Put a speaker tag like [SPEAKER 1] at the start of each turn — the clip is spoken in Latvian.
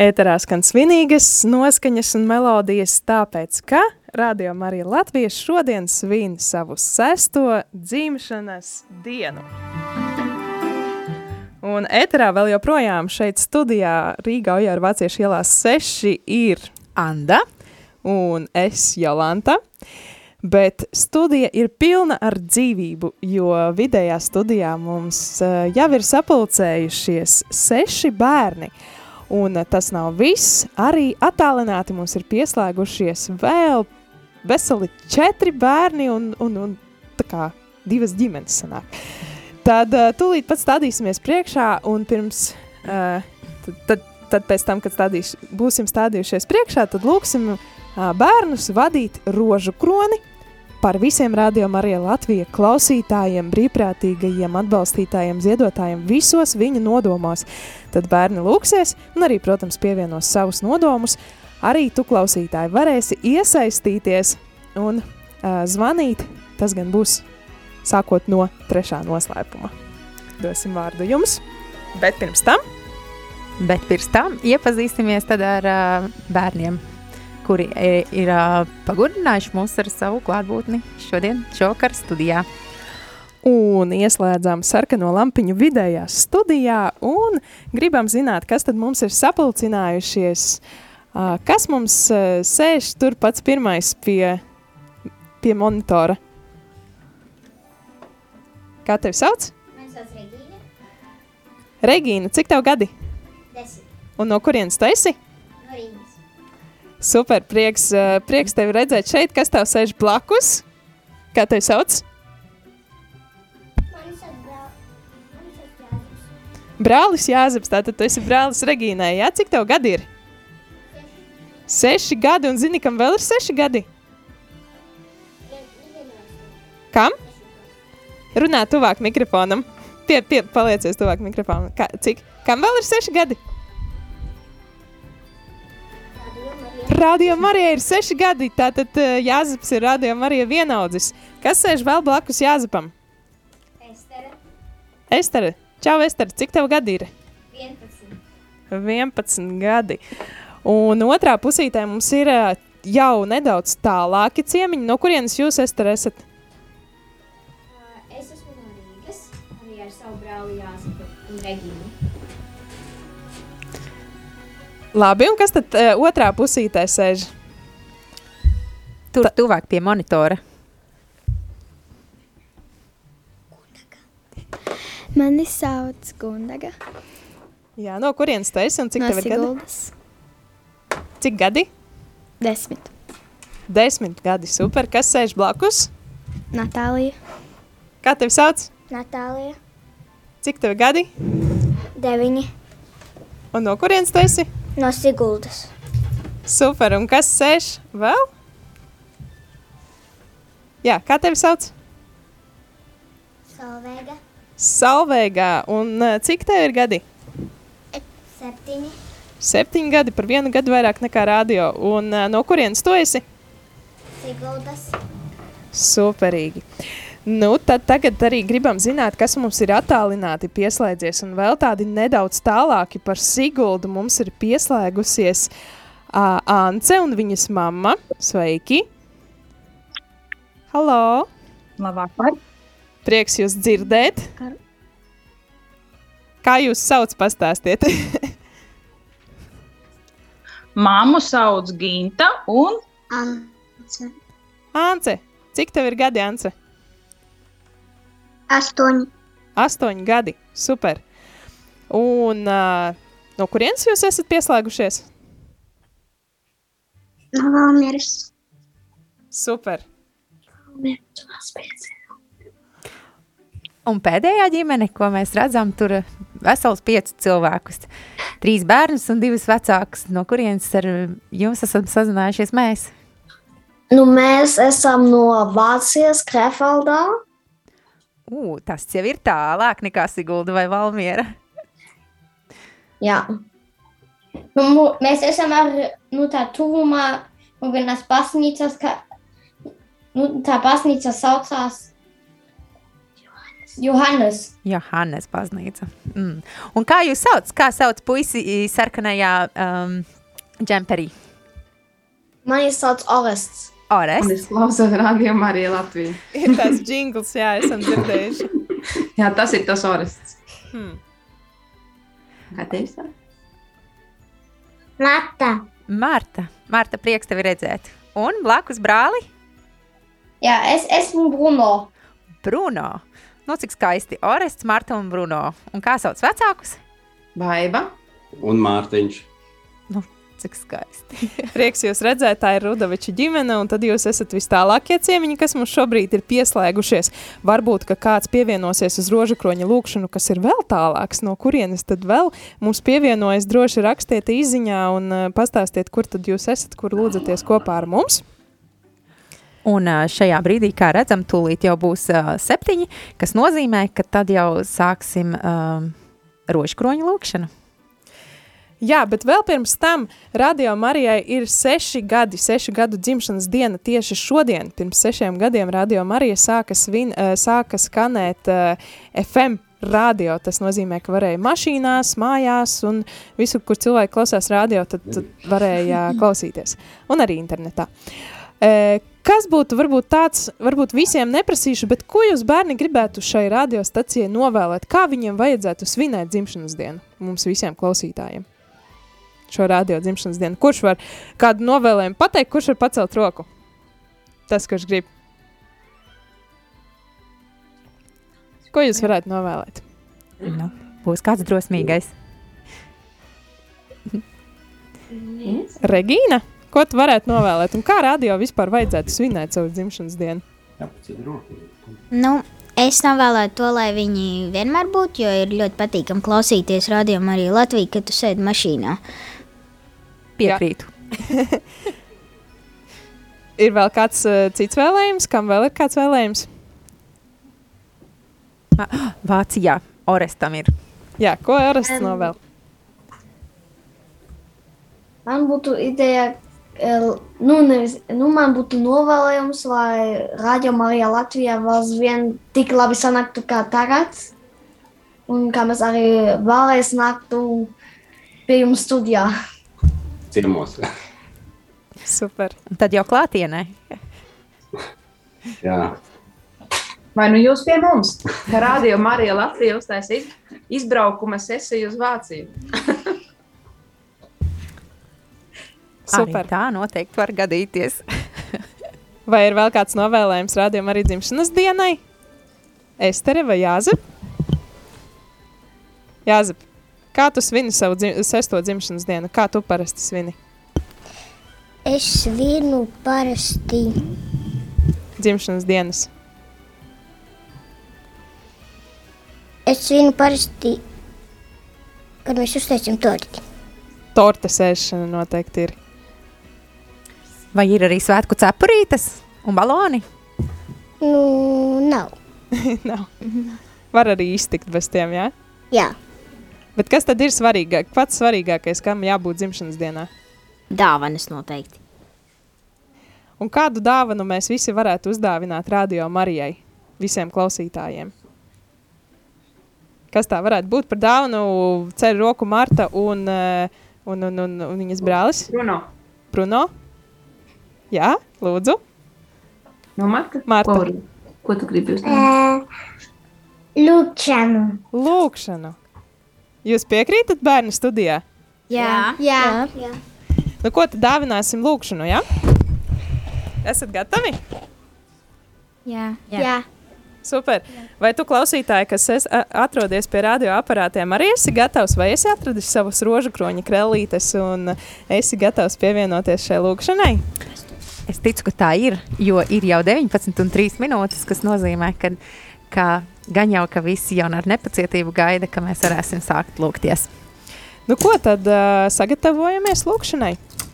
[SPEAKER 1] Ēterā skan svinīgas noskaņas un melodijas, tāpēc, ka Radio Marija Latvijas šodien svin savu sesto dzimšanas dienu. Un ēterā vēl joprojām šeit studijā Rīgā jau ar Vāciešu ielā 6 ir Anda un es Jolanta. Bet studija ir pilna ar dzīvību, jo vidējā studijā mums eh, jau ir sapulcējušies seši bērni. Un eh, tas nav viss. Arī attālināti mums ir pieslēgušies vēl veseli četri bērni un, un, un tā kā divas ģimenes sanāk. Tad uh, tūlīt pat stādīsimies priekšā un pirms. Uh, tad, tad, tad pēc tam, kad stādīš, būsim stādījušies priekšā, tad lūksim uh, bērnus vadīt rožu kroni. Par visiem rādījumiem arī Latvijas klausītājiem, brīvprātīgajiem, atbalstītājiem, ziedotājiem visos viņa nodomos. Tad bērni lūksies un arī, protams, pievienos savus nodomus. Arī tu, klausītāji, varēsi iesaistīties un uh, zvanīt. Tas gan būs sākot no trešā noslēpuma. Dosim vārdu jums, bet pirms tam
[SPEAKER 2] Bet pirms tam iepazīsimies tad ar uh, bērniem, kuri e, ir uh, pagodinājuši mūs ar savu klātbūtni šodien, šovakar studijā.
[SPEAKER 1] un ieslēdzām sarkano lampiņu vidējā studijā un gribam zināt, kas tad mums ir sapulcinājušies, ā, kas mums ā, sēž tur pats pirmais pie, pie monitora. Kā tevi sauc?
[SPEAKER 3] Mani sauc Regīna.
[SPEAKER 1] Regīna, cik tev gadi
[SPEAKER 3] Desmit.
[SPEAKER 1] un no kurienes tu esi?
[SPEAKER 3] No Rīgas.
[SPEAKER 1] Super, prieks, eh, prieks tevi redzēt šeit. Kas tev sēž blakus? Kā tevi sauc?
[SPEAKER 3] Mani sauc Brāl. Mani sauc Brālis.
[SPEAKER 1] Brālis Jāzeps. Tātad tu esi brālis Regīnai. Jā, cik tev gadi ir? Seši gadi, un zini, kam vēl ir seši gadi? Kam? Runā tuvāk mikrofonam. Pie, pie, paliecies tuvāk mikrofonam. Kā, cik? Kam vēl ir seši gadi? Radio Marijai ir seši gadi, tātad eh, Jāzeps ir Radio Marija vienaudzis. Kas sēž vēl blakus Jāzepam?
[SPEAKER 3] Estera.
[SPEAKER 1] Estere, čau, Estere, cik tev gadi ir?
[SPEAKER 3] 11.
[SPEAKER 1] 11 gadi. Un otrā pusītē mums ir ā, jau nedaudz tālāki ciemiņi, no kurienes jūs Ester, esat.
[SPEAKER 3] Uh, Es esmu no Rīgas. Arī ar savu brāli Jāzipu un Regīnu.
[SPEAKER 1] Labi, un kas tad uh, otrā pusītē sēž?
[SPEAKER 2] Tur Ta... tuvāk pie monitora.
[SPEAKER 4] Mani sauc Gundaga.
[SPEAKER 1] Jā, no kurienes tu esi un cik
[SPEAKER 4] no
[SPEAKER 1] tev ir gadi?
[SPEAKER 4] Siguldas.
[SPEAKER 1] Cik gadi?
[SPEAKER 4] Desmit.
[SPEAKER 1] Desmit gadi, super. Kas sēž blakus?
[SPEAKER 4] Natālija.
[SPEAKER 1] Kā tevi sauc?
[SPEAKER 3] Natālija.
[SPEAKER 1] Cik tev gadi?
[SPEAKER 3] 9.
[SPEAKER 1] Un no kurienes tu esi?
[SPEAKER 3] No Siguldas.
[SPEAKER 1] Super, un kas sēž vēl? Jā, kā tevi sauc?
[SPEAKER 3] Solveiga.
[SPEAKER 1] Salvēgā, un uh, cik tev ir gadi?
[SPEAKER 3] 7.
[SPEAKER 1] Septiņi gadi, par vienu gadu vairāk nekā radio. Un ā, no kurienes tu esi?
[SPEAKER 3] Siguldas.
[SPEAKER 1] Superīgi. Nu, tad tagad arī gribam zināt, kas mums ir attālināti pieslēdzies. Un vēl tādi nedaudz tālāki par Siguldu mums ir pieslēgusies uh, Ance un viņas mamma. Sveiki! Halo!
[SPEAKER 5] Labvakar.
[SPEAKER 1] Prieks jūs dzirdēt! Kā jūs sauc, pastāstiet?
[SPEAKER 5] Māmu sauc Ginta un
[SPEAKER 3] Anca.
[SPEAKER 1] Ance, cik tev ir gadi, Ance?
[SPEAKER 3] 8.
[SPEAKER 1] Astoņi gadi. Super. Un uh, no kurienes jūs esat pieslēgušies?
[SPEAKER 3] No Valmieras.
[SPEAKER 1] Super.
[SPEAKER 6] Nu,
[SPEAKER 2] Un pēdējā ģimene, ko mēs redzam, tur vesels piecus cilvēkus. Trīs bērnus un divus vecākus, no kurienes ar jums esam sazinājušies mēs.
[SPEAKER 6] Nu, mēs esam no Vācijas, Krefeldā.
[SPEAKER 2] Ū, tas jau ir tālāk nekā Sigulda vai Valmiera.
[SPEAKER 6] Jā,
[SPEAKER 7] Nu, mu- mēs esam ar nu, tā tuvumā, nu, vienas baznīcas, kā nu, tā baznīca saucās Johannes.
[SPEAKER 2] Johannes baznīca. Mm. Un kā jūs sauc? Kā sauc puisi i, sarkanajā um, džemperī?
[SPEAKER 6] Mani sauc Orests.
[SPEAKER 8] Un
[SPEAKER 2] Ores.
[SPEAKER 8] es klausos rādījumu arī Latviju.
[SPEAKER 1] Ir tās jingls, jā, esam dzirdējuši.
[SPEAKER 8] Jā, tas ir tas orests.
[SPEAKER 1] Hmm.
[SPEAKER 8] Kā tevis? tā?
[SPEAKER 6] Mata.
[SPEAKER 2] Marta. Marta, prieks tevi redzēt. Un blakus brāli
[SPEAKER 7] Jā, es esmu Bruno.
[SPEAKER 2] Bruno. Nu, cik skaisti. Orests, Marta un Bruno. Un kā sauc vecākus?
[SPEAKER 8] Baiba.
[SPEAKER 9] un Mārtiņš.
[SPEAKER 2] Cik skaisti.
[SPEAKER 1] Prieks jūs redzēt, tā ir Rudaviča ģimene, un tad jūs esat vis tālākie ciemiņi, kas mums šobrīd ir pieslēgušies. Varbūt, ka kāds pievienosies uz rožakroņa lūkšanu, kas ir vēl tālāks, no kurienes tad vēl mums pievienojas, droši rakstiet īziņā un uh, pastāstiet, kur tad jūs esat, kur lūdzaties kopā ar mums.
[SPEAKER 2] Un ā, šajā brīdī, kā redzam, tūlīt jau būs ā, septiņi, kas nozīmē, ka tad jau sāksim um, rožkroņu lūkšanu.
[SPEAKER 1] Jā, bet vēl pirms tam Radio Marijai ir seši gadi, sešu gadu dzimšanas diena tieši šodien. Pirms sešiem gadiem Radio Marija sāka, svin, eh, sāka skanēt eh, FM radio. Tas nozīmē, ka varēja mašīnās, mājās un visur, kur cilvēki klausās radio, tad, tad varēja eh, klausīties. Un arī internetā. Eh, Kas būtu varbūt tāds, varbūt visiem neprasīšu, bet ko jūs bērni gribētu šai radiostacijai novēlēt? Kā viņiem vajadzētu svinēt dzimšanas dienu mums visiem klausītājiem? šo radio dzimšanas dienu. Kurš var kādu novēlējumu pateikt, kurš var pacelt roku? Tas, kurš grib. Ko jūs varētu novēlēt?
[SPEAKER 2] Nu, būs kāds drosmīgais.
[SPEAKER 1] Regīna, ko tu varētu novēlēt? Un kā radio vispār vajadzētu svinēt savu dzimšanas dienu?
[SPEAKER 10] Nu, es novēlētu to, lai viņi vienmēr būtu, jo ir ļoti patīkami klausīties radiomā arī Latvijā, kad tu sēdi mašīnā.
[SPEAKER 2] Piekrītu.
[SPEAKER 1] Ir vēl kāds uh, cits vēlējums, kam vēl ir kāds vēlējums?
[SPEAKER 2] Vācijā Orestam ir.
[SPEAKER 1] Jā, ko Erasts novēl?
[SPEAKER 6] Man būtu ideja, el, nu, nevis, nu man būtu novēlējums, lai Radio Marija Latvijā vēl vien tik labi sanāktu kā tagad. Un kā mēs arī vēlreiz nāktu pie jums studijā.
[SPEAKER 9] Ciemos.
[SPEAKER 1] Super.
[SPEAKER 2] Un tad jau klātienē.
[SPEAKER 9] Jā,
[SPEAKER 8] Vai nu jūs pie mums? Radio Marija Latvija uztaisīs izbraukuma sesiju uz Vāciju.
[SPEAKER 1] Super.
[SPEAKER 2] Arī tā noteikti var gadīties.
[SPEAKER 1] Vai ir vēl kāds novēlējums rādījumam arī dzimšanas dienai? Estere vai Jāzep? Jāzep, kā tu svini savu dzim sesto dzimšanas dienu? Kā tu parasti svini
[SPEAKER 10] Es svinu parasti.
[SPEAKER 1] dzimšanas dienas?
[SPEAKER 10] Es svinu parasti, kad mēs uztaisām torti.
[SPEAKER 1] Torta sēšana noteikti ir.
[SPEAKER 2] Vai ir arī svētku cepurītes un baloni?
[SPEAKER 10] Nu, nav.
[SPEAKER 1] Nav. Var arī iztikt bez tiem, jā?
[SPEAKER 10] Jā,
[SPEAKER 1] Bet kas tad ir svarīgāk? Pats svarīgākais, kam jābūt dzimšanas dienā?
[SPEAKER 10] dāvanas noteikti.
[SPEAKER 1] Un kādu dāvanu mēs visi varētu uzdāvināt radio Marijai, visiem klausītājiem? Kas tā varētu būt par dāvanu? Ceļu roku Marta un, eh, un, un, un, un viņas brālis
[SPEAKER 8] Bruno,
[SPEAKER 1] Bruno. Jā, lūdzu.
[SPEAKER 8] no Marta?
[SPEAKER 1] Marta.
[SPEAKER 8] Ko, var- ko tu gribi uzdot?
[SPEAKER 7] Lūkšanu.
[SPEAKER 1] Lūkšanu. Jūs piekrītat bērnu studijā?
[SPEAKER 4] Jā.
[SPEAKER 7] Jā.
[SPEAKER 1] Nu, ko tad dāvināsim lūkšanu, jā? Esat gatavi?
[SPEAKER 4] Jā.
[SPEAKER 10] Jā.
[SPEAKER 4] Jā.
[SPEAKER 1] Super. Vai tu klausītāji, kas es, a, atrodies pie radioaparātiem, arī esi gatavs, vai esi atradis savus rožu kroņa krellītes un esi gatavs pievienoties šai lūkšanai?
[SPEAKER 2] Es ticu, ka tā ir, jo ir jau 19,3 minūtes, kas nozīmē, ka, ka gan jau ka visi jau ar nepacietību gaida, ka mēs varēsim sākt lūgties.
[SPEAKER 1] Nu, ko tad uh, sagatavojamies lūkšanai?